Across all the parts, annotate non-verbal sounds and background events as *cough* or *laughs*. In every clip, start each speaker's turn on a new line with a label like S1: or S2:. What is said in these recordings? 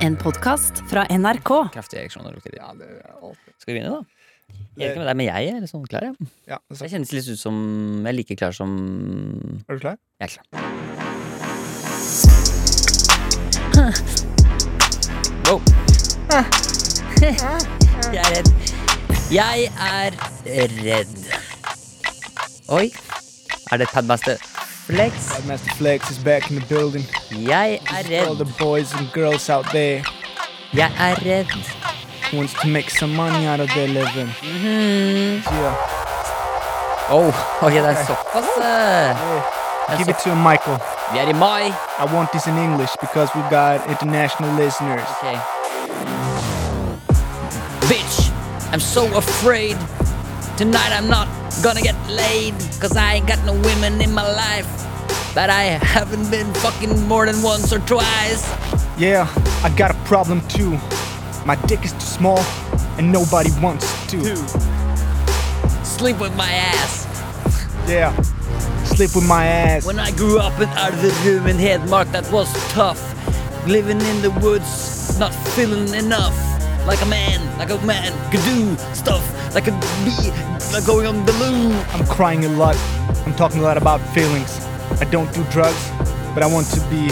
S1: En podkast fra NRK.
S2: Kraftig ereksjon og lukter
S3: Ja, det er alt. Eh,
S2: Skal vi begynne, da? Jeg er ikke med deg, men jeg er litt sånn klar, jeg.
S3: Ja, det er
S2: Jeg
S3: sant.
S2: kjennes litt ut som Jeg er like klar som
S3: Er du klar?
S2: Jeg er klar. Wow. Jeg er redd. Jeg er redd. Oi. Er det Padmaster Flex?
S3: Master Flex is back in the building.
S2: Jeg er
S3: All
S2: redd.
S3: the boys and girls out there
S2: Jeg er redd.
S3: who wants to make some money out of their living. Yeah.
S2: Oh, ok, det er såpass. eh.
S3: Give it to him, Michael.
S2: Vi er i mai.
S3: I want this in English because we got international listeners.
S2: Okay. Bitch, I'm so afraid. Tonight I'm not gonna get laid. Cause I ain't got no women in my life. But I haven't been fucking more than once or twice.
S3: Yeah, I got a problem too. My dick is too small and nobody wants to.
S2: Sleep with my ass.
S3: Yeah. Sleep with my ass.
S2: When I grew up in out of the room in Hedmark, that was tough. Living in the woods, not feeling enough. Like a man, like a man could do stuff. Like a bee, like going on the loo.
S3: I'm crying a lot. I'm talking a lot about feelings. I don't do drugs, but I want to be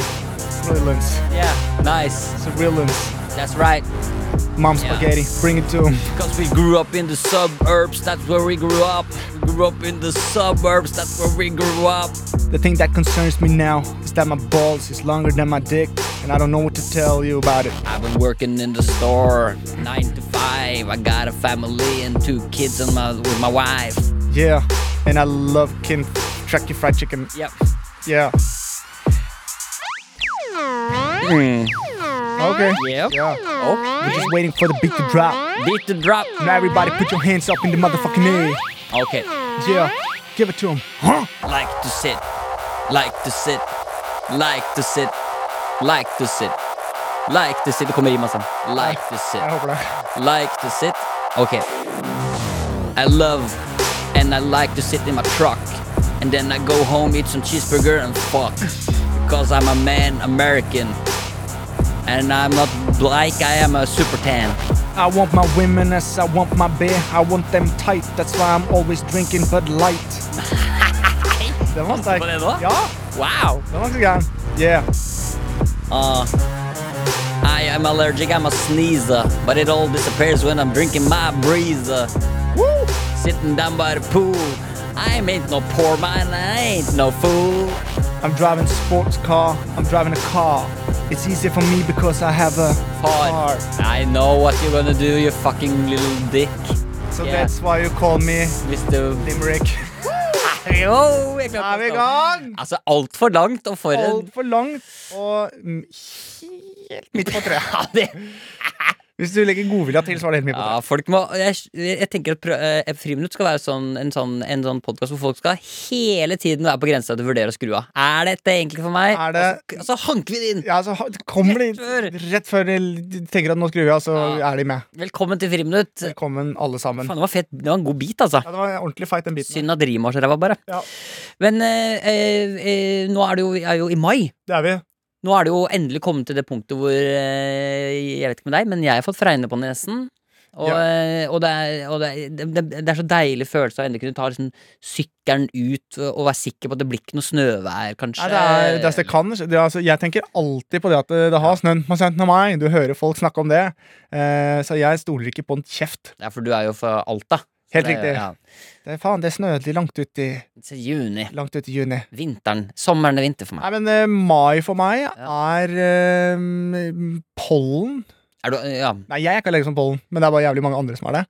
S3: realance.
S2: Yeah, nice.
S3: Surveillance.
S2: That's right.
S3: Mom
S2: Yeah.
S3: spaghetti. Bring it to him.
S2: Cause we grew up in the suburbs, that's where we grew up. We grew up in the suburbs, that's where we grew up.
S3: The thing that concerns me now is that my balls is longer than my dick, and I don't know what to tell you about it.
S2: I've been working in the store, nine to five. I got a family and two kids and my, with my wife.
S3: Yeah, and I love Kim Kentucky Fried Chicken.
S2: Yep.
S3: Yeah. Okay.
S2: Yep.
S3: Yeah. We're
S2: Okay.
S3: just waiting for the beat to drop.
S2: Beat the drop.
S3: Now everybody put your hands up in the motherfucking air.
S2: Okay.
S3: Yeah. Give it to him. Huh?
S2: Like to sit. Like to sit. Like to sit. Like to sit. Like to sit. Det kommer i masse. Like to sit.
S3: Jeg håper det.
S2: like to sit. Okay. I love and I like to sit in my truck. And then I go home, eat some cheeseburger, and fuck. Because I'm a man American. And I'm not black, I am a super tan.
S3: I want my women as I want my beer. I want them tight. That's why I'm always drinking
S2: *laughs*
S3: Bud Light. Den var sterk.
S2: På det da?
S3: Ja,
S2: Wow!
S3: den var grei. Yeah.
S2: Uh, I am allergic, I'm a sneezer. But it all disappears when I'm drinking my breezer. Woo! Sitting down by the pool. I ain't no poor man, I ain't no fool.
S3: I'm driving a sports car. I'm driving a car. It's easier for me because I have a car.
S2: Hard. I know what you're gonna do, you fucking little dick.
S3: So
S2: Yeah.
S3: that's why you call me
S2: Mr.
S3: Limerick.
S2: *laughs* Jo, jeg klarte
S3: Da er vi i
S2: å stoppe.
S3: gang!
S2: Altså, altfor langt, og for en
S3: Altfor langt og mm, helt midt på *laughs* treet.
S2: ja, det,
S3: Hvis du legger godvilja til, så var det helt midt på
S2: ja,
S3: treet.
S2: folk må Jeg, jeg tenker at prø- eh, Friminutt skal være sånn, en sånn, en sånn podkast hvor folk skal hele tiden være på grensa til å vurdere å skru av. Er dette egentlig for meg?
S3: Er det
S2: Og så hanker vi det inn!
S3: Ja, så ha- kommer de
S2: Rett før.
S3: rett før de tenker at nå skrur vi av, så
S2: Ja.
S3: er de med.
S2: Velkommen til Friminutt.
S3: Velkommen, alle sammen.
S2: Faen, det var fett. Det var en god bit, altså.
S3: Ja, det var en ordentlig fight, den biten.
S2: Synd at Rima var så ræva, bare.
S3: Ja.
S2: Men eh, eh, eh, nå er det jo, vi er jo i mai.
S3: Det er vi.
S2: Nå er det jo endelig kommet til det punktet hvor eh, Jeg vet ikke med deg, men jeg har fått fregne på nesen. Og,
S3: Ja.
S2: eh, og, det, er, og det, er- det, det er så deilig følelse av endelig kunne ta liksom, sykkelen ut og være sikker på at det blir ikke noe snøvær, kanskje.
S3: Nei, det, er, det, er, det kan skje. det, er altså, Jeg tenker alltid på det at det, det har snødd på 17. mai. Du hører folk snakke om det. Eh, så jeg stoler ikke på en kjeft.
S2: Ja, for du er jo fra Alta. Så
S3: Helt
S2: det er jo-
S3: riktig.
S2: Ja.
S3: Det, er- faen, det snødde langt ut i,
S2: Så juni.
S3: langt ut i juni.
S2: Vinteren. Sommeren er vinter for meg.
S3: Nei, men eh, mai for meg er eh, pollen.
S2: Er du, ja.
S3: Nei, jeg er ikke allergisk mot pollen, men det er bare jævlig mange andre som er det.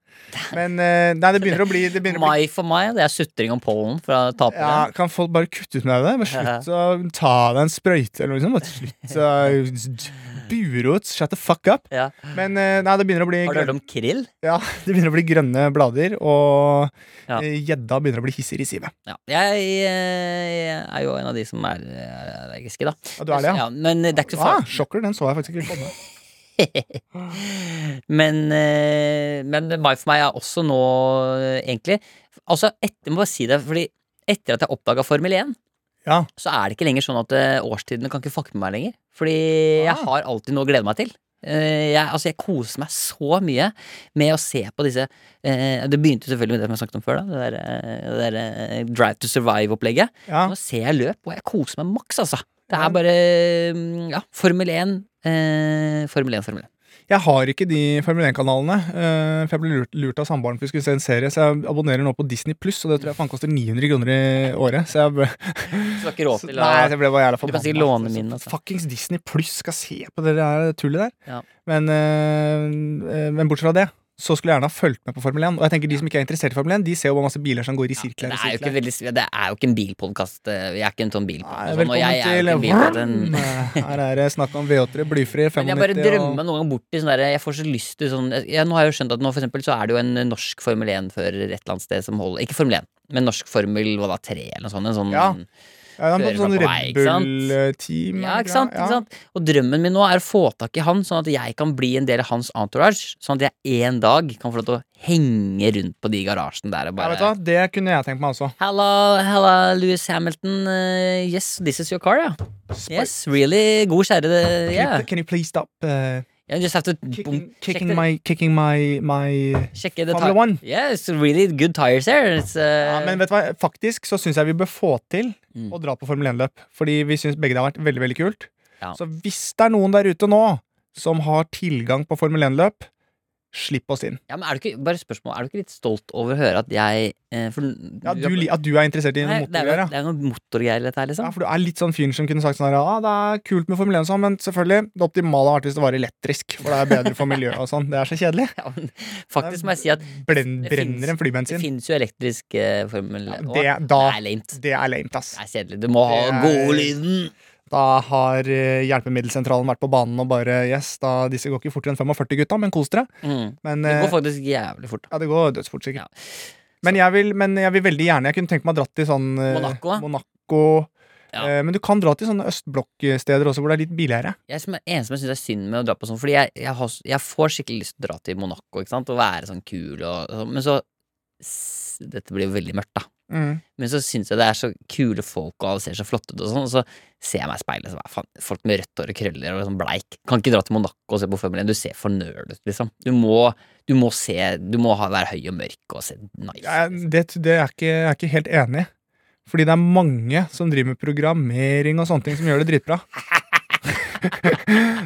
S3: Men eh, nei, det begynner å bli, det begynner å bli
S2: Mai for meg, det er sutring om pollen fra tapere.
S3: Ja, kan folk bare kutte ut med det? Bare slutt å ta deg en sprøyte eller noe sånt. Bare *laughs* slutt å bure ut. Shut the fuck up.
S2: Ja.
S3: Men eh, nei, det begynner å bli
S2: Har du hørt
S3: grønne,
S2: om krill?
S3: *laughs* ja, det begynner å bli grønne blader, og
S2: Ja.
S3: eh, gjedda begynner å bli hissigere i sivet.
S2: Ja. Jeg, eh, er jo en av de som er eh, allergiske, da.
S3: Ja, du er det, ja?
S2: Ja, men det er ikke så
S3: Ah,
S2: farlig.
S3: sjokker, den så jeg faktisk ikke komme. Ah.
S2: Men, eh, men mai for meg er også nå, eh, egentlig Altså, etter, jeg må bare si det, fordi etter at jeg oppdaga Formel 1,
S3: Ja.
S2: så er det ikke lenger sånn at eh, årstidene kan ikke fucke med meg lenger. Fordi
S3: Ah.
S2: jeg har alltid noe å glede meg til. Eh, jeg, altså jeg koser meg så mye med å se på disse eh, Det begynte selvfølgelig med det som jeg snakket om før, da, det der, eh, det der eh, Drive to Survive-opplegget.
S3: Ja.
S2: Nå ser jeg løp, og jeg koser meg maks, altså. Det er bare mm, ja, Formel 1, eh, Formel 1, Formel 1.
S3: Jeg har ikke de Formel 1-kanalene, eh, for jeg ble lurt, lurt av samboeren for vi skulle se en serie, så jeg abonnerer nå på Disney Pluss, og det tror jeg faen koster 900 kroner i året. Så jeg ble,
S2: Så du har ikke råd
S3: så,
S2: til å
S3: nei, jeg ble bare jævla
S2: Du
S3: forbanna.
S2: kan si låne min, altså.
S3: Fuckings Disney Pluss skal se på det der tullet der.
S2: Ja.
S3: Men, eh, eh, men bortsett fra det, så skulle jeg gjerne ha fulgt med på Formel 1. Og jeg tenker de som ikke er interessert i Formel 1, de ser jo bare masse biler som går i
S2: Det
S3: sirkler. og
S2: er jo ikke,
S3: sirkler.
S2: veldig, det er jo ikke en bilpodkast. eh, Jeg er ikke en sånn
S3: Nei,
S2: bilpodkast. og
S3: velkommen
S2: jeg er jo
S3: til
S2: ikke en bilpodcast, en-
S3: Her er det snakk om V8, blyfri, 95
S2: Men jeg bare drømmer
S3: og
S2: noen ganger bort i sånn derre Jeg får så lyst til sånn jeg, Nå har jeg jo skjønt at nå for eksempel så er det jo en eh, norsk Formel 1-fører et eller annet sted som holder Ikke Formel 1, men norsk Formel hva da, 3 eller noe sånt. En sånn
S3: Ja. ja, han
S2: Kjører
S3: er på sånn
S2: meg på vei,
S3: Red
S2: ikke sant?
S3: Bull-team.
S2: Ja, ikke sant? Ikke sant? Og drømmen min nå er å få tak i han, sånn at jeg kan bli en del av hans entourage. Sånn at jeg en dag kan få lov til å henge rundt på de garasjene der og
S3: Ja, vet
S2: bare
S3: du hva? Det kunne jeg tenkt meg også.
S2: Halla, halla, Louis Hamilton. eh, yes, this is your car, ja. Yes, really. God kjære. det- Yeah.
S3: Can you- Can you please stop uh,
S2: You just have to
S3: kicking,
S2: check
S3: kicking,
S2: the-
S3: my, kicking my, my
S2: Sjekke det ta-
S3: Formula One.
S2: Yeah, it's really good tires here. It's, uh,
S3: ja, Men vet du hva, faktisk så syns jeg vi bør få til
S2: Mm.
S3: å dra på Formel 1-løp. Fordi vi syns begge det har vært veldig veldig kult.
S2: Ja.
S3: Så hvis det er noen der ute nå som har tilgang på Formel 1-løp, slipp oss inn.
S2: ja, men er du ikke, bare spørsmål, er du ikke litt stolt over å høre at jeg eh, for,
S3: Ja, du, li- at du er interessert i
S2: Nei,
S3: noe
S2: det er jo
S3: motorgreier. ja.
S2: det er jo noe motorgreier i dette her, liksom.
S3: Ja, for du er litt sånn fyren som kunne sagt sånn her ah, det er kult med Formel 1 og sånn, men selvfølgelig, det optimale hadde vært hvis det var elektrisk, for det er bedre for miljøet og sånn. Det er så kjedelig.
S2: *laughs* Ja, men faktisk må jeg si at
S3: Blen,
S2: Det finnes-
S3: brenner en
S2: det
S3: flybensin.
S2: finnes jo elektrisk eh, formel.
S3: Ja,
S2: og
S3: det, da,
S2: det er lame.
S3: det er lame, ass.
S2: Det er kjedelig. Du må ha
S3: Det er-
S2: godlyden.
S3: Da har eh, hjelpemiddelsentralen vært på banen og bare Yes, da, disse går ikke fortere enn 45, gutta, men kos dere.
S2: Mm.
S3: Men
S2: Det går
S3: eh,
S2: faktisk jævlig fort.
S3: ja, det går dødsfort, sikkert.
S2: Ja.
S3: Men, jeg vil, men jeg vil veldig gjerne Jeg kunne tenkt meg å dra til sånn eh,
S2: Monaco, da?
S3: Monaco.
S2: Ja.
S3: Eh, Men du kan dra til sånne østblokksteder også, hvor det er litt billigere.
S2: Jeg som er eneste jeg syns er synd med å dra på sånn, fordi jeg, jeg, har, s- jeg får skikkelig lyst til å dra til Monaco ikke sant? og være sånn kul, og, og, men så s- Dette blir jo veldig mørkt, da.
S3: Mm.
S2: Men så syns jeg det er så kule folk, og alle ser så flotte ut, og sånn, og så ser jeg meg i speilet, så bare, faen, folk med rødt hår og krøller og sånn bleik. Kan ikke dra til Monaco og se på Formel 1. Du ser for nerd ut, liksom. Du må, du må se Du må ha, være høy og mørk og se nice ut.
S3: Jeg,
S2: liksom.
S3: det, det er ikke, jeg er ikke helt enig. Fordi det er mange som driver med programmering og sånne ting som gjør det dritbra. *laughs*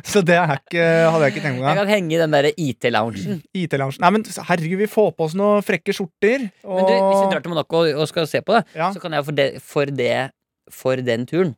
S3: så det er ikke, hadde jeg ikke tenkt
S2: Jeg
S3: meg.
S2: kan henge i den derre IT-loungen.
S3: IT-lounge. Nei, men herregud, vi får på oss noen frekke skjorter. Og,
S2: Men du, hvis vi drar til Monaco og skal se på det,
S3: ja,
S2: så kan jeg for, det, for, det, for den turen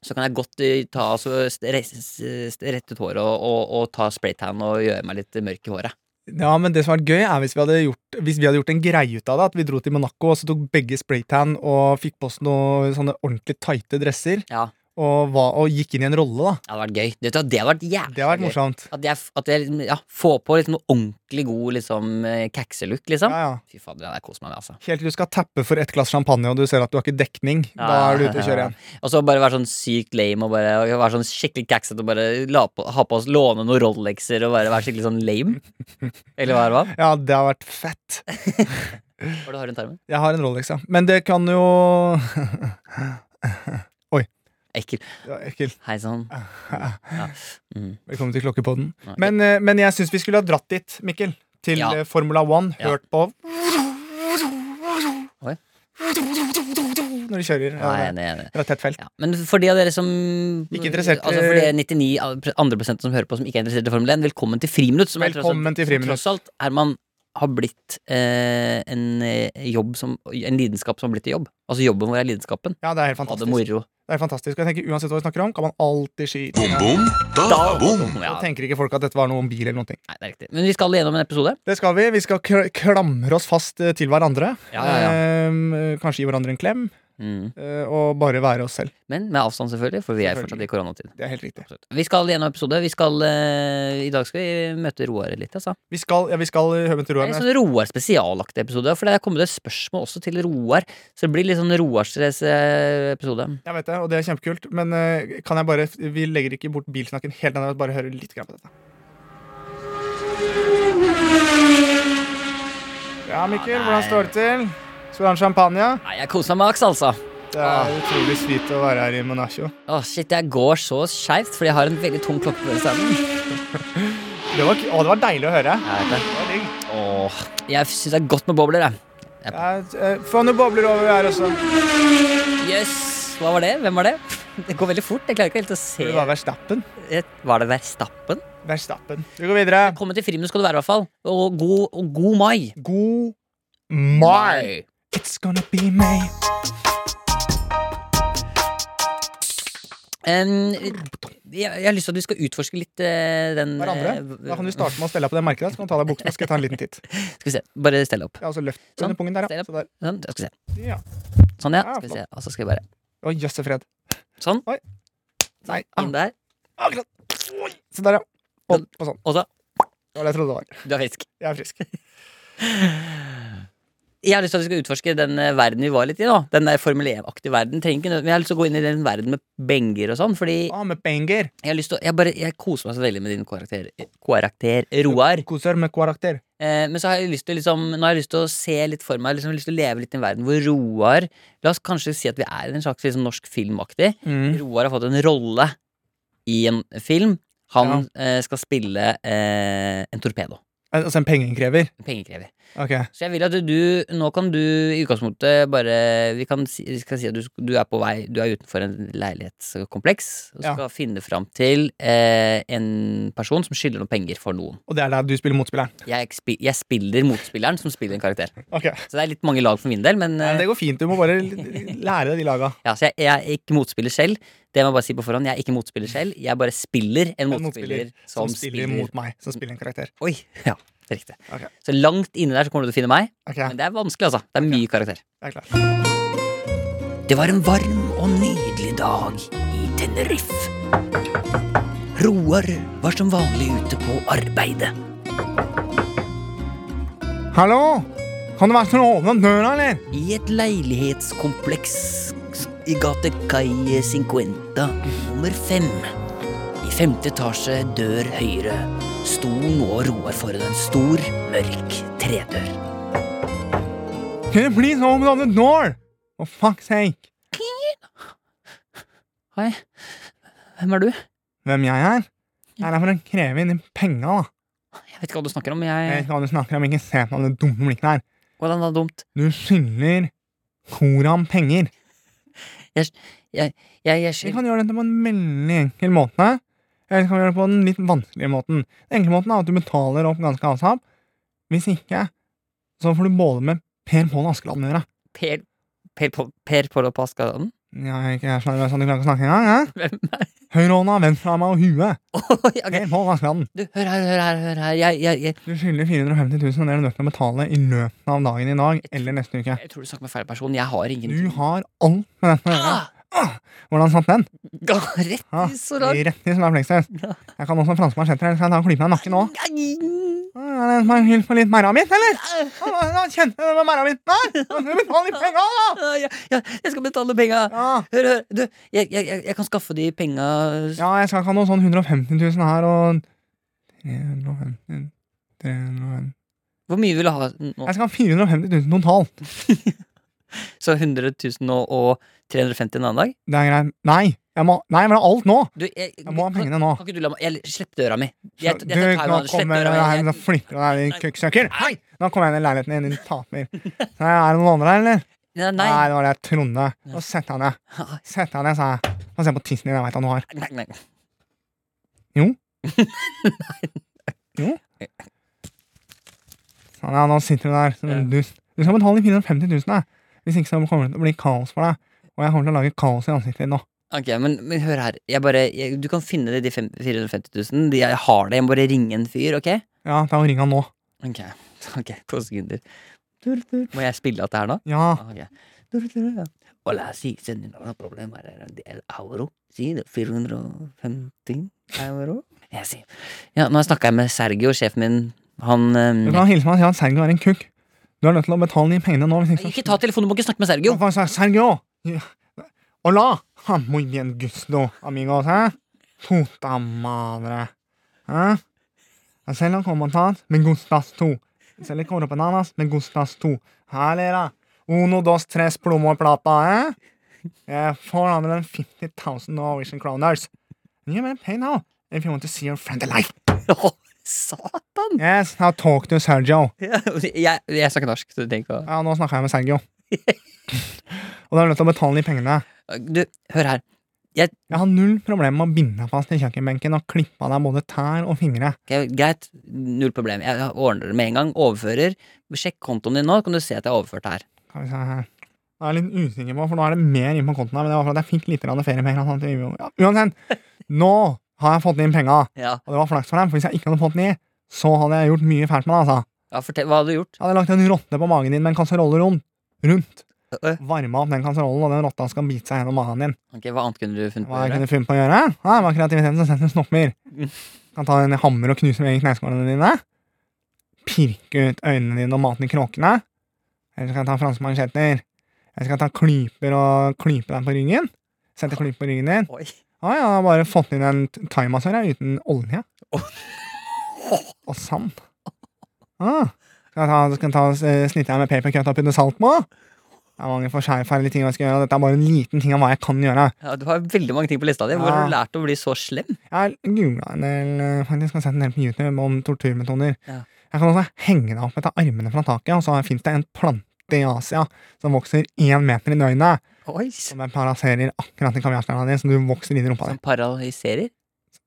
S2: så kan jeg godt eh, ta altså, st- reise- s- s- rette ut håret og, og, og ta spraytan og gjøre meg litt mørk i håret.
S3: ja, men det som hadde vært gøy, er hvis vi hadde gjort, hvis vi hadde gjort en greie ut av det. At vi dro til Monaco og så tok begge spraytan og fikk på oss noen sånne ordentlig tighte dresser.
S2: Ja,
S3: Og, var, og gikk inn i en rolle, da.
S2: Det hadde vært gøy. Det, det hadde vært jævlig
S3: Det hadde vært
S2: gøy.
S3: morsomt.
S2: At jeg, f- at jeg liksom, ja, får på liksom noe ordentlig god liksom, eh, kakselook, liksom.
S3: Ja, ja.
S2: Fy fader, det der koser meg med, altså.
S3: Helt til du skal tappe for ett glass champagne, og du ser at du har ikke dekning. Da
S2: Ja,
S3: er du ute å kjøre igjen.
S2: Og så bare være sånn sykt lame og bare og være sånn skikkelig kaksete og bare la på, ha på oss låne noen Rolexer og bare være skikkelig sånn lame. Eller hva er det? hva?
S3: Ja, det har vært fett.
S2: Hva du har rundt armen?
S3: Jeg har en Rolex, ja. Men det kan jo *laughs*
S2: Ekkel.
S3: Det var Ekkelt.
S2: Hei
S3: *laughs*
S2: sann. Ja. Mm.
S3: Velkommen til Klokkepodden.
S2: Ok.
S3: Men, eh, men jeg syns vi skulle ha dratt dit, Mikkel. Til
S2: Ja.
S3: eh, Formula One.
S2: Ja.
S3: Hørt på
S2: Oi.
S3: Når de kjører.
S2: Ja,
S3: Ja,
S2: jeg er enig,
S3: det
S2: jeg er enig.
S3: er- det er tett felt.
S2: Ja. Men for de av dere som
S3: Ikke interessert i-
S2: Altså for de 99 andre prosent som hører på som ikke er interessert i Formel 1, velkommen til Friminutt. Som er tross alt-
S3: Velkommen til Friminutt.
S2: Tross alt, Herman har blitt eh, en eh, jobb som En lidenskap som har blitt til jobb. Altså jobben vår er lidenskapen.
S3: Ja, det er helt
S2: Ha det
S3: fantastisk. Det
S2: moro.
S3: er helt fantastisk. Og jeg tenker Uansett hva vi snakker om, kan man alltid skyte.
S4: Bom, bom, da,
S2: Da-
S4: bom.
S2: Ja,
S3: Da tenker ikke folk at dette var noe om bil eller noen ting.
S2: nei, det er riktig. Men vi skal gjennom en episode.
S3: Det skal vi. Vi skal kl- klamre oss fast eh, til hverandre.
S2: Ja, ja, ja.
S3: Eh, kanskje gi hverandre en klem.
S2: Mm.
S3: eh, og bare være oss selv.
S2: Men med avstand, selvfølgelig, for vi er fortsatt i
S3: Selvfølgelig.
S2: koronatid.
S3: Det er helt riktig.
S2: Absolutt. Vi skal gjennom en episode. Vi skal, eh, I dag skal vi møte Roar litt, altså.
S3: Vi skal, ja, vi skal eh, høre med til Roar.
S2: Det er en
S3: men-
S2: sånn Roar spesialaktig episode, for det er kommet et spørsmål også til Roar. Så det blir litt sånn Roars eh, episode.
S3: Jeg vet det, og det er kjempekult. Men eh, kan jeg bare, vi legger ikke bort bilsnakken helt ennå. jeg vil Bare høre litt grann på dette. Ja, Mikkel,
S2: Ah, nei.
S3: hvordan står det til? Skal du ha en champagne?
S2: Nei, jeg koser meg maks, altså.
S3: Det er utrolig sweet å være her i Monaco.
S2: Å, shit, jeg går så skeivt fordi jeg har en veldig tung klokke på venstre hånden.
S3: Det var, å, det var deilig å høre.
S2: Jeg vet det. Åh, jeg syns det er godt med bobler, jeg.
S3: Ja, eh, Få noen bobler over her også.
S2: Yes, hva var det? Hvem var det? *laughs* Det går veldig fort. Jeg klarer ikke helt å se.
S3: Det var Verstappen.
S2: Var det Verstappen?
S3: Verstappen. Vi går videre.
S2: Kommer til friminutt skal du være, i hvert fall. Og god, og god mai.
S3: God mai. It's gonna be May.
S2: Em, jeg, jeg har lyst til at vi skal utforske litt eh, den
S3: Hverandre.
S2: eh,
S3: Da kan du starte med å stelle deg på det merket der, så kan du ta deg i buksa. Skal jeg ta en liten titt.
S2: Skal vi se. Bare stell opp.
S3: Ja, og så løft
S2: Sånn.
S3: under pungen der,
S2: Stell
S3: ja.
S2: opp.
S3: Så der.
S2: Sånn, jeg skal se.
S3: Ja.
S2: Sånn, ja.
S3: Ja,
S2: Skal vi se. Og så skal vi bare
S3: Å, jøsse fred.
S2: Sånn.
S3: Oi. Nei. ah,
S2: Inn der.
S3: Akkurat. Oi. Se der, ja. Opp og sånn.
S2: Og så
S3: Det var det jeg trodde det var.
S2: Du er frisk.
S3: Jeg er frisk.
S2: *laughs* Jeg har lyst til at vi skal utforske den eh, verden vi var litt i. da Den der Formel 1-aktige verden. Trenger ikke nød- Men jeg har lyst til å gå inn i den verden med benger og sånn. Fordi
S3: Ah, med penger.
S2: jeg har lyst til å Jeg, bare, jeg koser meg så veldig med din karakter, karakter Roar.
S3: Koser med karakter.
S2: Eh, men så har jeg lyst til å liksom nå har jeg lyst til å se litt for meg liksom, lyst til å leve litt i en verden hvor Roar La oss kanskje si at vi er i en slags liksom, norsk filmaktig.
S3: Mm.
S2: Roar har fått en rolle i en film. Han eh, skal spille eh, en torpedo.
S3: Altså en pengeinnkrever.
S2: En pengekrever.
S3: Ok.
S2: Så jeg vil at du, nå kan du i utgangspunktet bare Vi kan si, vi skal si at du, du er på vei Du er utenfor en leilighetskompleks og
S3: Ja.
S2: skal finne fram til eh, en person som skylder noen penger for noen.
S3: Og det er der du spiller motspilleren.
S2: Jeg, spi- jeg spiller motspilleren som spiller en karakter.
S3: Ok.
S2: Så det er litt mange lag for min del, men
S3: Nei,
S2: eh,
S3: det går fint. Du må bare l- lære deg de laga.
S2: ja, så jeg, jeg er ikke motspiller selv. Det må jeg bare si på forhånd. Jeg er ikke motspiller selv. Jeg bare spiller en motspiller, som,
S3: som spiller mot meg. Som spiller en karakter.
S2: Oi! *laughs* Ja, riktig.
S3: Ok.
S2: Så langt inne der så kommer du til å finne meg.
S3: Ok,
S2: Men det er vanskelig, altså. Det er mye karakter.
S3: jeg er klar.
S2: Det var en varm og nydelig dag i Tenerife. Roar var som vanlig ute på arbeidet.
S3: Hallo! Kan det være sånn åpne døra, eller?
S2: I et leilighetskompleks i gate Calle Cinquenta nummer fem. I femte etasje, dør høyre, sto nå Roar foran en stor, mørk tredør.
S3: Can you please open up the door? For fuck's sake.
S2: Hei, hvem er du?
S3: Hvem jeg er? Jeg er her for å kreve inn de penga, da.
S2: Jeg vet ikke hva du snakker om.
S3: Jeg vet
S2: Jeg...
S3: ikke hva du Eh, snakker om, ikke se på det dumme blikket der.
S2: Hvordan var det dumt?
S3: Du skylder Koram penger.
S2: Jeg, jeg,
S3: Vi
S2: skyld-
S3: kan gjøre dette på en veldig enkel måte. Eller så kan vi gjøre det på den litt vanskelige måten. Den enkle måten er at du betaler opp ganske avsatt. Hvis ikke, så får du både med Per Pål Askeladden å gjøre.
S2: Per, per, per, per Pål og Pascal?
S3: *laughs*
S2: *laughs*
S3: Ja, ikke jeg skjønner sånn du klarer ikke å snakke engang. Ja. Høyrehånda, venstrehånda og huet. Per Pål Askeladden.
S2: Du, hør her, hør her, hør her. Jeg, jeg, jeg,
S3: Du skylder 450 000, og det er du nødt til å betale i løpet av dagen i dag eller neste uke.
S2: jeg tror du snakker med feil person. Jeg har ingen *laughs*
S3: Du har alt med dette å gjøre.
S2: ah,
S3: Hvordan satt den?
S2: ga, Rett
S3: Ah,
S2: i solar.
S3: Rett i sånn flekses.
S2: Ja.
S3: Jeg kan også franskmann setter her, så jeg tar og klyper meg
S2: *laughs*
S3: i nakken nå.
S2: Nei.
S3: Ah, Er det en som har hyllet på litt merra mitt, eller? Ah, ah, Kjente du det med merra mitt? Nei! Du betaler litt penger, da!
S2: Ah, *laughs* ja, ja, jeg skal betale penga.
S3: Ja.
S2: Hør, hør. Du, jeg, jeg, jeg- jeg kan skaffe de penga
S3: ja, jeg skal ikke ha noe sånn 150 000 her og 350 350.
S2: Hvor mye vil du ha nå?
S3: Jeg skal ha 450 000 totalt.
S2: Så 100 000 og, og 350 en annen dag?
S3: Det er greit. Nei! Jeg må, nei, jeg vil ha alt nå!
S2: Du, jeg,
S3: Jeg må ha
S2: kan,
S3: pengene nå.
S2: kan ikke du la meg jeg, Slipp døra mi. Jeg, jeg,
S3: du
S2: jeg, tar
S3: nå
S2: Taiwan, slipp
S3: kommer
S2: døra mi.
S3: her
S2: Jeg,
S3: og flytter deg, din
S2: Nei.
S3: kukksøkker. Hei! Nå kommer jeg inn i leiligheten din, din taper. Så er det noen andre her, eller?
S2: nei,
S3: Nei,
S2: nei,
S3: det var det jeg trodde. Nå setter jeg *laughs* ned. Sett deg ned, sa jeg. Få se på tissen din, jeg veit hva du har.
S2: nei, nei.
S3: Sånn, ja, nå sitter du der som en dust. Du skal betale de 450 000, jeg. Hvis ikke så kommer det til å bli kaos for deg. Og jeg kommer til å lage kaos i ansiktet ditt nå.
S2: Ok, men, men hør her. Jeg bare, jeg, du kan finne det, de fem- 450 000. De- Jeg har det. Jeg må bare ringe en fyr, OK?
S3: Ja, ta og ring han nå.
S2: Ok, *laughs* ok, to sekunder. Må jeg spille alt det her nå?
S3: Ja.
S2: *laughs* Ok. Hola, sí, señor, no problema. El euro, sí, det er 450 euro. *laughs* Ja, sí. Ja, nå snakka jeg med Sergio, sjefen min. Han
S3: Du
S2: ehm,
S3: kan hilse meg og si at Sergio er en kukk. Du er nødt til å betale de pengene nå. Hvis ikke så
S2: Ikke ta telefonen, du må ikke snakke med Sergio!
S3: Hva sa Sergio? Ja. Hola! Ah, Muy bien gusto, amigos, hæ? Puta madre. ¿eh? Hæ? Jeg selger kommentat med gustas to. Jeg selger corpananas med gustas to. Her, dere. Uno, dos, tres plomo plata, ¿eh? hæ? Jeg får 450,000 Norwegian kroners. And you may pay now if you want to see your friend alive.
S2: Å, *laughs* Satan! *laughs*
S3: Yes, now talk to Sergio.
S2: Ja, Jeg, jeg snakker norsk, så du trenger ikke å
S3: Ja, nå snakker jeg med Sergio. *laughs* Og da er du nødt til å betale de pengene.
S2: Du, hør her. Jeg,
S3: Jeg har null problemer med å binde deg fast i kjøkkenbenken og klippe av deg både tær og fingre.
S2: ok, greit, null problem. Jeg ordner det med en gang. Overfører. Sjekk kontoen din nå, kan du se at jeg har overført her.
S3: Skal vi se her. Da er jeg litt usikker på, for nå er det mer inn på kontoen her, men det var for at jeg fikk litt grann feriepenger. og sånt. Ja, uansett, nå har jeg fått inn penga,
S2: Ja,
S3: og det var flaks for dem, for hvis jeg ikke hadde fått den i, så hadde jeg gjort mye fælt med deg, altså.
S2: ja fortell, Hva hadde du gjort?
S3: Jeg hadde lagt en rotte på magen din med en kasserolle rundt. rundt.
S2: Øh.
S3: Varma opp den kasserollen, og den rotta skal bite seg gjennom magen din.
S2: Ok, Hva annet kunne du funnet på?
S3: Hva
S2: å
S3: jeg
S2: gjøre?
S3: kunne funnet på å gjøre? Ja, det var kreativiteten som sendte snopper. Kan ta en hammer og knuse med kneskålene dine. Pirke ut øynene dine og maten i kråkene. Eller så kan jeg ta franske mansjetter. Eller så kan jeg ta klyper og klype deg på ryggen. Sette klyper på ryggen din.
S2: Oi.
S3: Å ja, jeg har bare fått inn en t- thaimassør jeg, uten olje. Og sand. Ah, skal jeg ta, skal jeg ta eh, snitte jeg med papercut og putte salt på? Det er mange forskjellferdige ting jeg skal gjøre. og Dette er bare en liten ting av hva jeg kan gjøre.
S2: Ja, du har veldig mange ting på lista di. Hvor har du
S3: Ja.
S2: lært å bli så slem?
S3: Jeg har googla en del eh, faktisk, og sett en del på YouTube om torturmetoder.
S2: Ja.
S3: Jeg kan også henge deg opp etter armene fra taket, og så fins det en plante i Asia som vokser én meter i døgnet.
S2: Oi,
S3: Som den paraserer akkurat i kaviarstjerna di, så du vokser inn i rumpa di.
S2: Som paralyserer?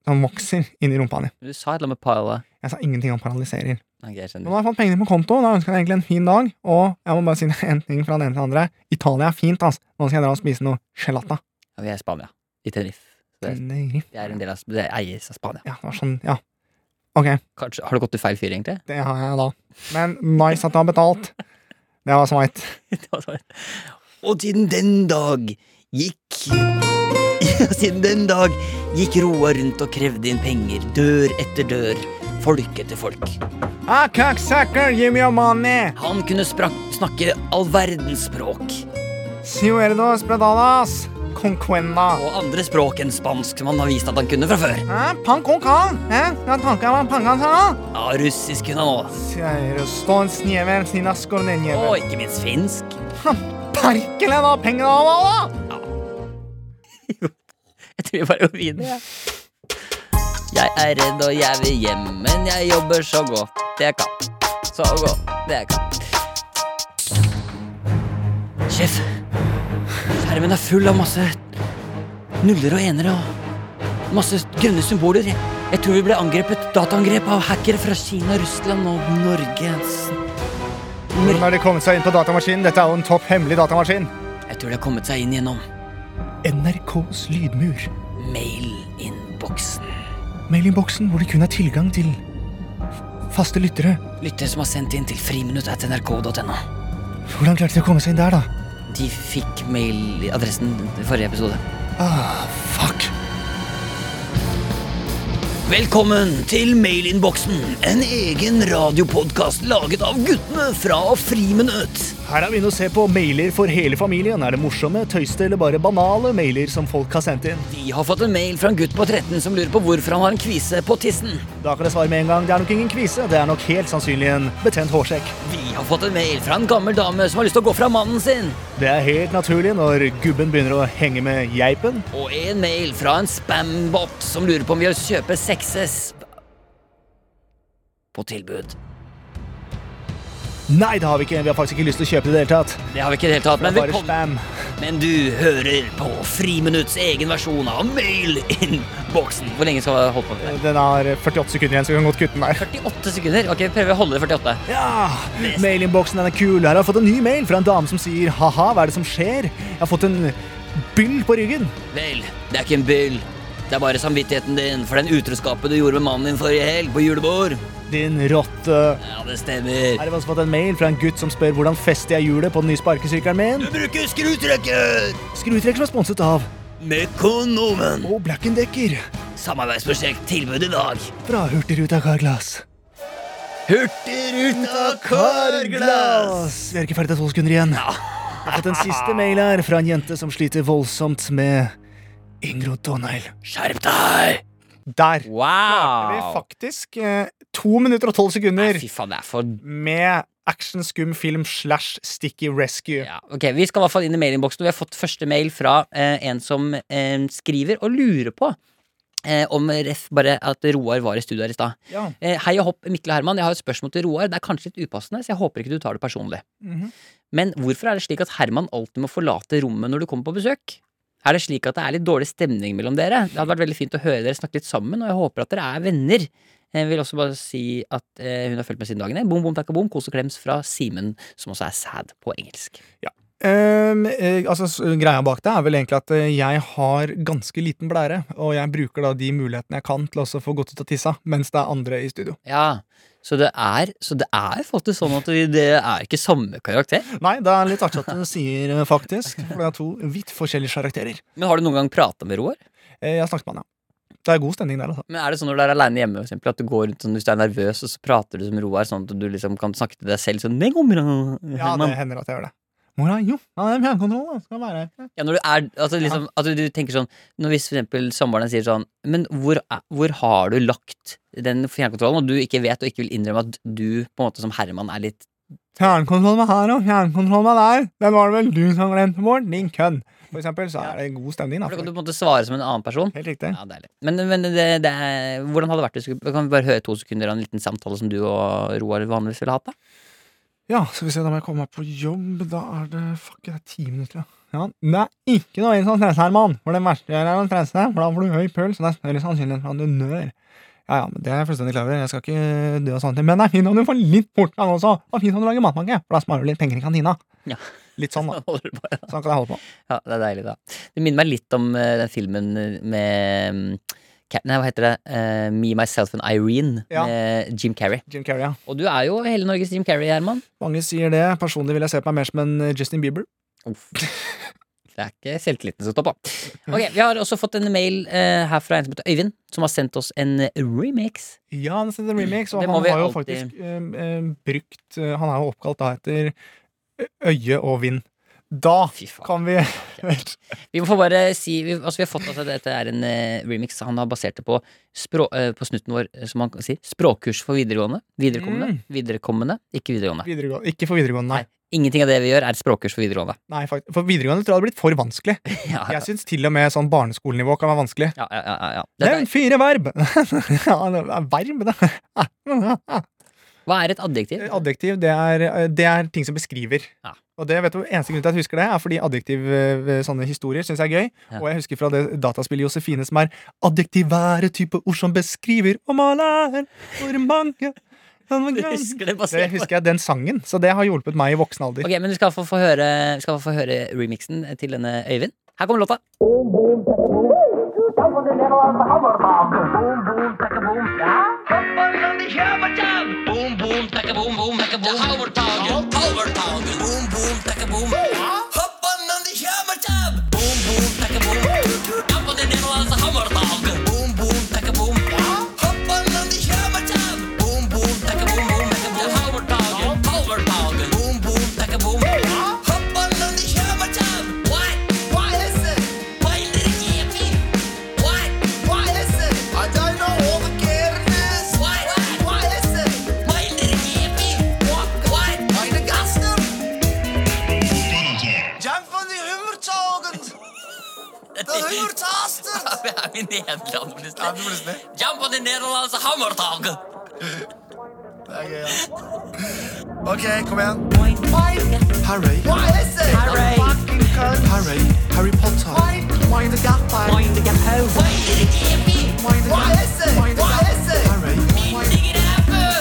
S3: Som vokser inn i rumpa di.
S2: Du sa et eller annet med para...
S3: Jeg sa ingenting om paralyserer.
S2: Ok, jeg
S3: Men
S2: skjønner.
S3: nå har jeg fått pengene på konto, da ønsker jeg deg egentlig en fin dag. Og jeg må bare si *laughs* en ting fra den ene til den andre. Italia er fint, ass. Nå skal jeg dra og spise noe gelata.
S2: Ja, vi er i Spania. I Tenerife. Så det er-
S3: Tenerife.
S2: Det er en del av Det eies av Spania.
S3: Ja, det var sånn, ja. Ok,
S2: Kanskje, har du gått til feil fyr, egentlig?
S3: det har jeg da. Men nice at du har betalt. Det var sveit.
S2: *laughs* Det var sånn. Og siden den dag gikk *laughs* Og siden den dag gikk Roar rundt og krevde inn penger, dør etter dør, folk etter folk.
S3: Ah, cocksucker, give me your money!
S2: Han kunne sprak snakke all verdens språk,
S3: Ciuerdos bradadas, conquenda.
S2: og andre språk enn spansk, som han har vist at han kunne fra før.
S3: Eh, pan con can, eh? Jeg tanker meg pangan sa.
S2: Ja, russisk kunne han òg.
S3: Stån snever, sina
S2: Og
S3: skornenjever.
S2: ikke minst finsk.
S3: Parkele da, pengene av alle!
S2: Jeg tror vi bare går videre. jeg. Jeg er redd og jeg vil hjem, men jeg jobber så godt jeg kan. Så godt jeg kan. Sjef, skjermen er full av masse nuller og enere og masse grønne symboler. Jeg, jeg tror vi ble angrepet dataangrep av hackere fra Kina, Russland og Norge.
S3: Hvordan har de kommet seg inn på datamaskinen? Dette er jo en topp hemmelig datamaskin.
S2: Jeg tror de har kommet seg inn gjennom
S3: NRKs lydmur.
S2: mail-innboksen.
S3: Mailinnboksen hvor det kun er tilgang til faste lyttere.
S2: Lyttere som har sendt inn til friminutt.nrk.no.
S3: Hvordan klarte de å komme seg inn der, da?
S2: De fikk mailadressen i forrige episode.
S3: Ah, fuck.
S2: Velkommen til mailinnboksen. En egen radiopodkast laget av guttene fra Friminutt.
S4: Her er vi inne og ser på mailer for hele familien. Er det morsomme, tøyste eller bare banale mailer som folk har sendt inn?
S2: Vi har fått en mail fra en gutt på 13 som lurer på hvorfor han har en kvise på tissen.
S4: Da kan jeg svare med en gang. Det er nok ingen kvise. Det er nok helt sannsynlig en betent hårsekk.
S2: Vi har fått en mail fra en gammel dame som har lyst til å gå fra mannen sin.
S4: Det er helt naturlig når gubben begynner å henge med geipen.
S2: Og en mail fra en spambot som lurer på om vi vil kjøpe 6S på tilbud.
S4: Nei, det har vi ikke. Vi har faktisk ikke lyst til å kjøpe det i det hele tatt.
S2: Det har vi ikke i det hele tatt,
S4: Det
S2: men
S4: er bare
S2: velkommen.
S4: spam.
S2: Men du hører på Friminutts egen versjon av mail-in-boksen. Hvor lenge skal vi holde på med det?
S3: Den har 48 sekunder igjen, så vi kan godt kutte den der.
S2: 48 sekunder. Ok, prøver å holde det 48.
S4: Ja! Mailinnboksen den er kul. Her har jeg fått en ny mail fra en dame som sier ha-ha, hva er det som skjer? Jeg har fått en byll på ryggen.
S2: Vel, det er ikke en byll. Det er bare samvittigheten din for den utroskapen du gjorde med mannen din forrige helg på julebord.
S4: Din rotte.
S2: Ja, det stemmer.
S4: Her har vi også fått en mail fra en gutt som spør hvordan fester jeg hjulet på den nye sparkesykkelen min.
S2: Du bruker skrutrekker!
S4: Skrutrekk som er sponset av
S2: Mekonomen.
S4: og Blackendecker
S2: Samarbeidsprosjekt tilbud i dag.
S4: fra Hurtigruta Carglass.
S2: Hurtigruta Carglass.
S4: Vi er ikke ferdig til tolv sekunder igjen. Jeg har fått en siste mail her fra en jente som sliter voldsomt med inngrodd tånegl.
S2: Skjerp deg!
S3: Der. Vi er
S2: Wow!
S3: faktisk eh, to minutter og tolv sekunder
S2: Fy faen, det er for
S3: med actionskum film slash sticky
S2: *laughs*
S3: rescue.
S2: Ja, ok, Vi skal i hvert fall inn i mailinnboksen. og Vi har fått første mail fra eh, en som eh, skriver og lurer på Eh, om ref bare at Roar var i studio her i stad.
S5: Ja.
S2: Eh, hei og hopp, Mikkel og Herman. Jeg har et spørsmål til Roar. Det er kanskje litt upassende, så jeg håper ikke du tar det personlig.
S5: Mhm.
S2: Men hvorfor er det slik at Herman alltid må forlate rommet når du kommer på besøk? Er det slik at det er litt dårlig stemning mellom dere? Det hadde vært veldig fint å høre dere snakke litt sammen, og jeg håper at dere er venner. Jeg vil også bare si at eh, hun har fulgt med siden dagene. Bom, bom, takka, bom. Kos og klems fra Simen, som også er sad på engelsk.
S3: Ehm, eh, altså, s- greia bak det er vel egentlig at eh, jeg har ganske liten blære, og jeg bruker da de mulighetene jeg kan til også å få gått ut av tissa, mens det er andre i studio.
S2: Ja, så det er, så det er faktisk sånn at vi- det er ikke samme karakter.
S3: Nei, det er litt artig
S2: *laughs*
S3: at du sier eh, faktisk, for det er to vidt forskjellige karakterer.
S2: Men har du noen gang prata med Roar?
S3: Eh, jeg snakket med han, ja. Det er god stemning der, altså.
S2: Men er det sånn når du er aleine hjemme, for eksempel, at du går rundt sånn, hvis du er nervøs, og så prater du som Roar, sånn at du liksom kan snakke til deg selv sånn «Det går bra,
S3: Ja, det
S2: Herman».
S3: hender at jeg gjør det. Mora, jo, ja, det er fjernkontroll, da. Skal være her.
S2: ja, når du er altså, liksom, at du tenker sånn når Hvis for eksempel samboeren din sier sånn Men hvor, er- hvor har du lagt den fjernkontrollen, og du ikke vet og ikke vil innrømme at du på en måte som Herman er litt
S5: Fjernkontroll med her og fjernkontroll med der. Den var det vel du som glemte, Bård. Din kønn.
S3: For eksempel så er det god stemning,
S2: For
S3: da.
S2: da kan du på en måte svare som en annen person.
S3: Helt riktig.
S2: Ja, deilig. Men, men det, det er, hvordan hadde det vært? hvis du skulle- Kan vi bare høre to sekunder av en liten samtale som du og Roar vanligvis ville hatt? da?
S3: Ja, skal vi se, da må jeg komme meg på jobb. Da er det fuck, det er ti minutter, ja. ja. Det er ikke noe vits å stresse, Herman. For det verste er å stresse, for da får du høy puls, og det er større sannsynlighet for at du dør. Ja, ja, men det er jeg fullstendig klar over. Jeg skal ikke dø av sånne ting. Men det er fint om du får litt portgang også. Og fint om du lager matpakke, for da sparer du litt penger i kantina.
S2: Ja.
S3: Litt sånn, da.
S2: *laughs* Holder du på, ja.
S3: Sånn kan jeg holde på.
S2: Ja, det er deilig, da. Det minner meg litt om eh, den filmen med mm, Ca- Nei, hva heter det? Eh, Me, Myself and Irene
S3: Ja.
S2: med Jim Carrey.
S3: Jim Carrey, ja.
S2: Og du er jo hele Norges Jim Carrey, Herman.
S3: Mange sier det. Personlig vil jeg se på meg mer som en Justin Bieber.
S2: Uff. *laughs* Det er ikke selvtilliten som står på. Ok, Vi har også fått en mail eh, her fra en som heter Øyvind, som har sendt oss en remix.
S3: Ja, han sendte remix,
S2: Mm.
S3: og
S2: Det
S3: han
S2: må vi
S3: har jo
S2: alltid-
S3: faktisk eh, eh, brukt eh, Han er jo oppkalt da etter eh, øye og vind. Da
S2: Fy faen.
S3: kan vi *laughs*
S2: Vi må få bare si vi, altså vi har fått altså, Dette er en eh, remix han har basert det på, språ, eh, på snutten vår, eh, som han sier. Språkkurs for videregående. Viderekommende.
S3: Mm.
S2: Viderekommende, ikke videregående.
S3: videregående. Ikke for videregående, nei.
S2: Ingenting av det vi gjør, er språkkurs for videregående. *laughs*
S3: nei fakt- for videregående tror jeg det hadde blitt for vanskelig.
S2: Ja, *laughs* ja,
S3: Jeg syns til og med sånn barneskolenivå kan være vanskelig.
S2: ja, ja, ja, ja. Dette,
S3: Nevn fire verb! *laughs* ja, det er verb, *laughs* da.
S2: er- hva er et adjektiv?
S3: Eh, Adjektiv, det er, eh, det er ting som beskriver.
S2: Ja.
S3: Og det vet du, Eneste grunn til at jeg husker det, er fordi adjektiv eh, sånne historier syns jeg er gøy.
S2: Ja.
S3: Og jeg husker fra det dataspillet Josefine som er 'adjektivære type ord som beskriver og maler hvor mange
S2: Du husker det
S3: Det
S2: basert på
S3: husker jeg den sangen, så det har hjulpet meg i voksen alder.
S2: Ok, men du skal få, få høre, vi skal få høre remixen til denne Øyvind. Her kommer låta.
S6: Jump on the
S2: *laughs*
S6: hummertoget! The hummertastert!
S2: Det er min nederland,
S6: Ja, det blir snill.
S2: Jump on the altså, Netherlands hammertaget!
S6: Det er gøy, ja. Ok, kom igjen. Harry. Harry. Harry. Harry Potter. Harry.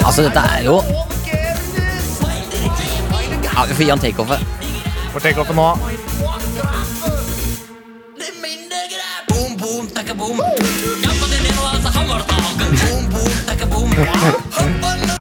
S2: Altså, dette er jo Ja, vi får gi han takeoffet.
S3: For tenk opp nå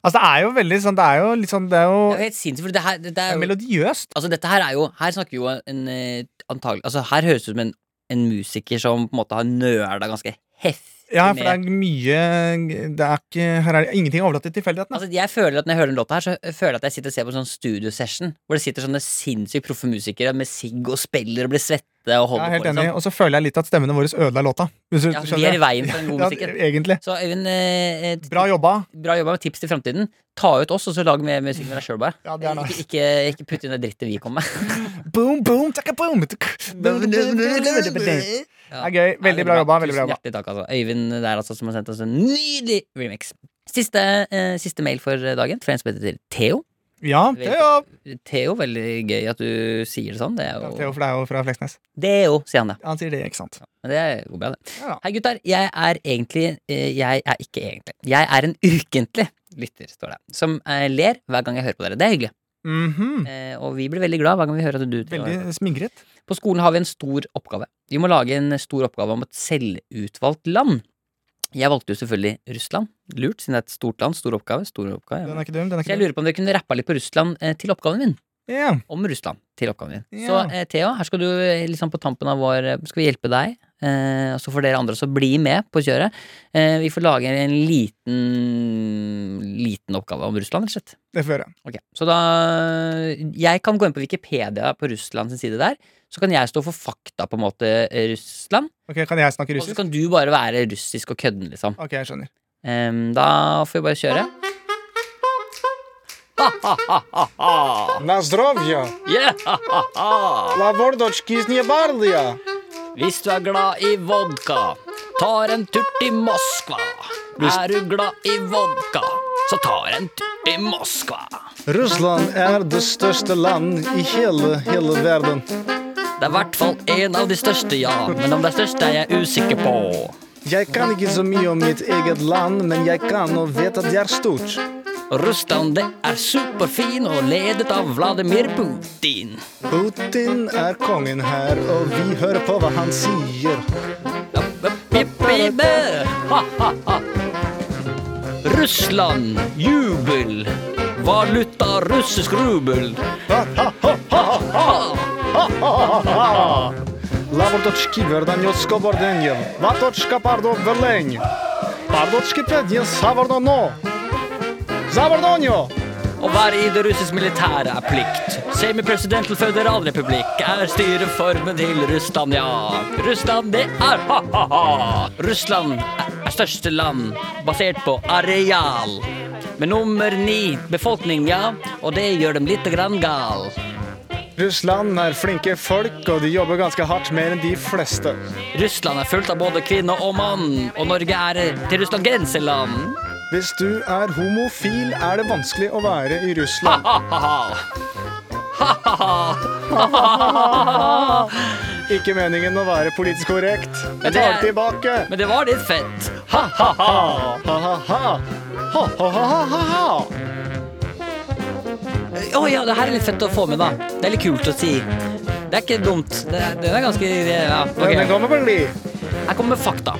S3: Altså, det er jo veldig sånn Det er jo litt sånn Det er jo
S2: Det er helt sinnssykt, for det her, det er jo
S3: melodiøst.
S2: Altså, dette her er jo Her snakker vi jo en eh, antagelig Altså, her høres det ut som en, en musiker som på en måte har nøla ganske heftig
S3: Ja, for det
S2: med
S3: er mye Det er ikke Her er det ingenting overlatt til tilfeldighetene.
S2: Altså, jeg føler at Når jeg hører den låta, her så føler jeg at jeg sitter og ser på en sånn studiosession hvor det sitter sånne sinnssykt proffe musikere med sigg og spiller og blir svette Det er å
S7: Jeg
S2: holde
S7: er helt
S2: på,
S7: enig,
S2: liksom.
S7: Og så føler jeg litt at stemmene våre ødela låta. Hvis du
S2: Ja, vi
S7: skjønner.
S2: er i veien for den gode
S7: Ja,
S2: musikken.
S7: egentlig.
S2: Så Øyvind, eh, et-
S7: Bra jobba.
S2: bra jobba med tips til framtiden. Ta ut oss, og så lag mer musikk med deg sjøl, bare.
S7: Ja, det er
S2: ikke, ikke, ikke putt inn det drittet vi kom med.
S7: Boom, boom, taka, boom. Det er gøy. Veldig bra jobba. Veldig bra
S2: Tusen
S7: jobba.
S2: hjertelig takk, altså. Øyvind der, altså, som har sendt oss en nydelig remix. Siste, eh, siste mail for dagen, fra en som heter Theo.
S7: Ja, Theo.
S2: Theo, veldig gøy at du sier det sånn. Det er
S7: Ja,
S2: jo
S7: Theo, for det er jo fra Fleksnes.
S2: Theo, sier han det.
S7: Han sier det, ikke sant.
S2: Men det går bra, det.
S7: Ja.
S2: Hei, gutter. Jeg er egentlig eh, Jeg er ikke egentlig. Jeg er en ukentlig lytter, står det. Som eh, ler hver gang jeg hører på dere. Det er hyggelig.
S7: Mhm.
S2: Eh, og vi blir veldig glad hver gang vi hører at du
S7: Veldig smigret.
S2: På skolen har vi en stor oppgave. Vi må lage en stor oppgave om et selvutvalgt land. Jeg valgte jo selvfølgelig Russland. Lurt, siden det er et stort land. Stor oppgave. stor oppgave.
S7: Den er ikke dum. den er
S2: Så
S7: ikke
S2: jeg
S7: dum.
S2: lurer på om dere kunne rappa litt på Russland eh, til oppgaven min.
S7: Ja.
S2: Om Russland til oppgaven min.
S7: Ja.
S2: Så eh, Theo, her skal du eh, liksom på tampen av vår eh, Skal vi hjelpe deg? Eh, og så får dere andre også bli med på kjøret. Eh, vi får lage en liten Liten oppgave om Russland, rett og slett.
S7: Det får jeg gjøre.
S2: Ok, Så da Jeg kan gå inn på Wikipedia på Russlands side der. Så kan jeg stå for fakta, på en måte, eh, Russland.
S7: Ok, Kan jeg snakke
S2: Og så
S7: russisk?
S2: kan du bare være russisk og kødden, liksom.
S7: Ok, jeg skjønner.
S2: Em, da får vi bare kjøre.
S7: На здоровье!
S2: Yeah!
S7: La vordочки из Небардия!
S2: Hvis du er glad i vodka, tar en tur til Moskva. Er du glad i vodka, så tar en tur til Moskva.
S3: Russland er det største land i hele, hele verden.
S2: Det er i hvert fall en av de største, ja. Men om det er størst, er jeg usikker på.
S3: Jeg kan ikke så mye om mitt eget land, men jeg kan og vet at det er stort.
S2: Russland det er superfin og ledet av Vladimir Putin.
S3: Putin er kongen her, og vi hører på hva han sier.
S2: Pippi-bø! Russland, jubel. Valuta russisk rubel.
S3: Lavortoczki verdaniosko bordenjev. Latoczka pardo verleng. Pardoczki pednie savorno no. Zavordonjo!
S2: Å være i det russiske militæret er plikt. Semipresidential føderalrepublikk er styreformen til Russland, ja. Russland, det er ha-ha-ha. Russland er største land basert på areal. Med nummer ni befolkning, ja. Og det gjør dem lite grann gal.
S3: Russland er flinke folk, og de jobber ganske hardt mer enn de fleste.
S2: Russland er fullt av både kvinne og mann, og Norge er til Russland grenseland.
S3: Hvis du er homofil, er det vanskelig å være i Russland.
S2: Ha-ha-ha.
S3: Ikke meningen å være politisk korrekt.
S2: Men
S3: Jeg
S2: det
S3: tar
S2: er-
S3: det tilbake.
S2: Men det var litt fett. Ha-ha-ha.
S3: Ha-ha-ha. Ha-ha-ha-ha.
S2: Å ja, det her er litt fett å få med, da. Det er litt kult å si. Det er ikke dumt. Det er, den er ganske ja, ok.
S3: Denne kommer vel i.
S2: Her kommer fakta.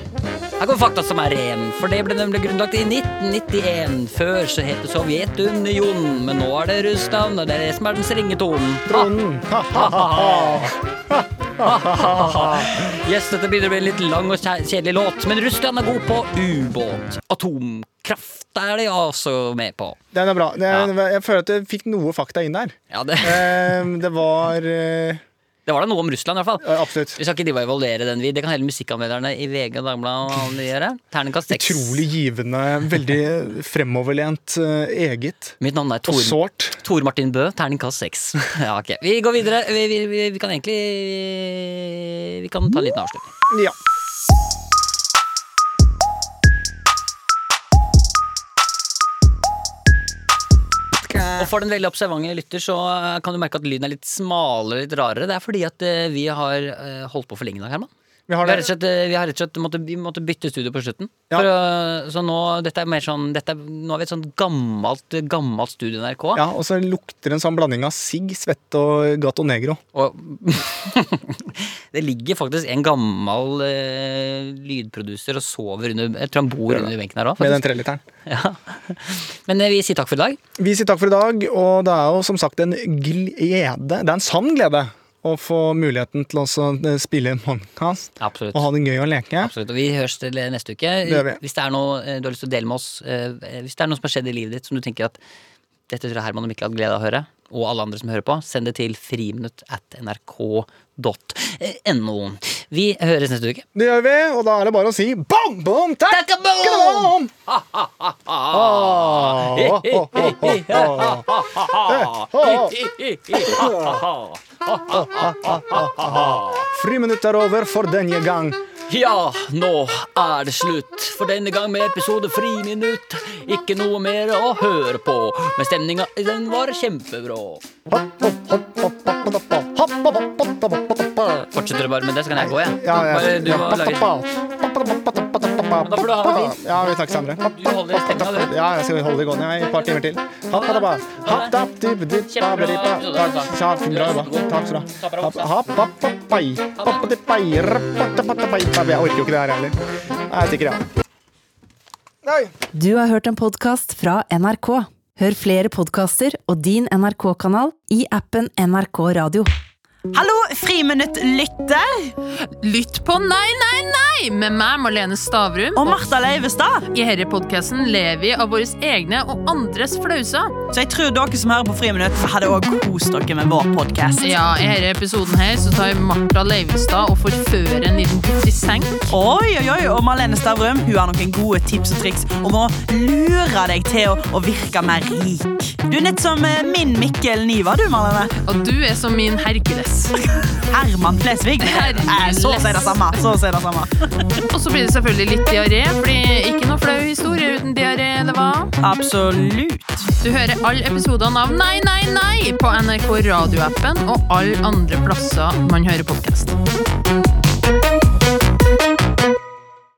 S2: Her kommer fakta som er ren, for det ble nemlig grunnlagt i 1991. Før så het det Sovjetunionen, men nå er det Russland, og det er det som er dens ringetonen.
S3: Tronden. Ha-ha-ha.
S2: Yes, dette begynner å bli en litt lang og kje- kjedelig låt, men Russland er god på ubåt. Atomkraft er de også med på.
S3: Den er bra. Den, jeg føler at jeg fikk noe fakta inn der.
S2: Ja, det,
S3: Eh,
S7: Ehm,
S3: Det var eh,
S2: det var da noe om Russland, i hvert fall.
S3: absolutt
S2: Vi skal ikke drive og evaluere den, vi. Det kan heller musikkanmelderne i VG og Dagbladet og alle gjøre. Terningkast seks.
S3: utrolig givende, veldig fremoverlent eh, eget.
S2: Mitt navn er
S3: Og
S2: Tor,
S3: sårt.
S2: Tor Martin Bø. Terningkast seks. Ja, ok. Vi går videre. Vi, vi, vi, vi kan egentlig Vi kan ta en liten avslutning.
S3: Ja.
S2: Og for den veldig observante lytter så eh, kan du merke at lyden er litt smalere, litt rarere. Det er fordi at eh, vi har eh, holdt på for lenge i dag, Herman.
S7: Vi har
S2: Vi har
S7: det.
S2: rett og slett, vi har rett og slett måtte, vi måtte bytte studio på slutten.
S7: Ja.
S2: For, øh, så nå, dette er mer sånn, dette er, nå har vi et sånn gammelt, gammelt studio i NRK.
S7: Ja, og så lukter det en sånn blanding av sigg, svette og gato negro.
S2: Og *laughs* det ligger faktisk en gammel øh, lydproduser og sover under Jeg tror han bor under benken her
S7: Med
S2: òg.
S7: den treliteren.
S2: Ja. *laughs* Men øh, vi sier takk for i dag.
S7: Vi sier takk for i dag, og det er jo som sagt en glede, det er en sann glede, å få muligheten til å også eh, spille en podkast
S2: Absolutt.
S7: og ha det gøy og leke.
S2: Absolutt, og Vi høres til eh, neste uke.
S7: gjør vi.
S2: Hvis det er noe eh, du har lyst til å dele med oss, eh, hvis det er noe som har skjedd i livet ditt som du tenker at dette tror jeg Herman og Mikkel hadde glede av å høre, og alle andre som hører på, send det til friminutt at nrk.no. Vi høres neste uke.
S3: Det gjør vi, og da er det bare å si bom, bom, takk,
S2: Takabom!
S3: Åh, åh, åh, åh, åh. Friminutt er over for denne gang.
S2: *laughs* Ja, nå er det slutt for denne gang med episode Friminutt. Ikke noe mer å høre på, men stemninga den var kjempebra. Fortsetter du bare med det, så kan jeg gå, jeg.
S3: Ja, ja,
S2: Bare du
S3: ja.
S2: må lage Da får du ha det fint.
S3: Ja, vi snakkes andre.
S2: Du holder i stemninga, du.
S3: Ja, jeg skal holde det gående jeg, i et par timer til. Happ, happ, happ. Happ, happ, dupp, dupp,
S2: Kjempebra.
S3: babadipp, Takk Tja, bra jobba. Takk skal du ha. Happ, happ, happ, happ, pai. Happ, happ, pai. Rapp, happ, happ, happ, pai. Jeg orker jo ikke det her heller. Nei, Jeg stikker av.
S1: Du har hørt en podkast fra NRK. Hør flere podkaster og din NRK-kanal i appen NRK Radio.
S8: Hallo, friminutt lytter
S9: Lytt på Nei, nei, nei med meg, Marlene Stavrum.
S8: og Martha Leivestad.
S9: I denne podkasten ler vi av våre egne og andres flauser.
S8: Så jeg tror dere som hører på Friminutt, hadde også kost dere med vår podkast.
S9: Ja, I denne episoden her så tar Martha Leivestad og forfører en liten gutt i senk.
S8: Oi, oi, oi, og Marlene Stavrum hun har noen gode tips og triks om å lure deg til å, å virke mer rik. Du er nett som eh, min Mikkel Niva, du, Marlene.
S9: Og du er som min Hercules.
S8: Herman Flesvig. Eh, Så å si det samme. Så å si det samme.
S9: Og så blir det selvfølgelig litt diaré, fordi ikke noe flau historie uten diaré, eller hva?
S8: Absolutt.
S9: Du hører alle episodene av Nei, nei, nei på NRK radioappen og alle andre plasser man hører podkast.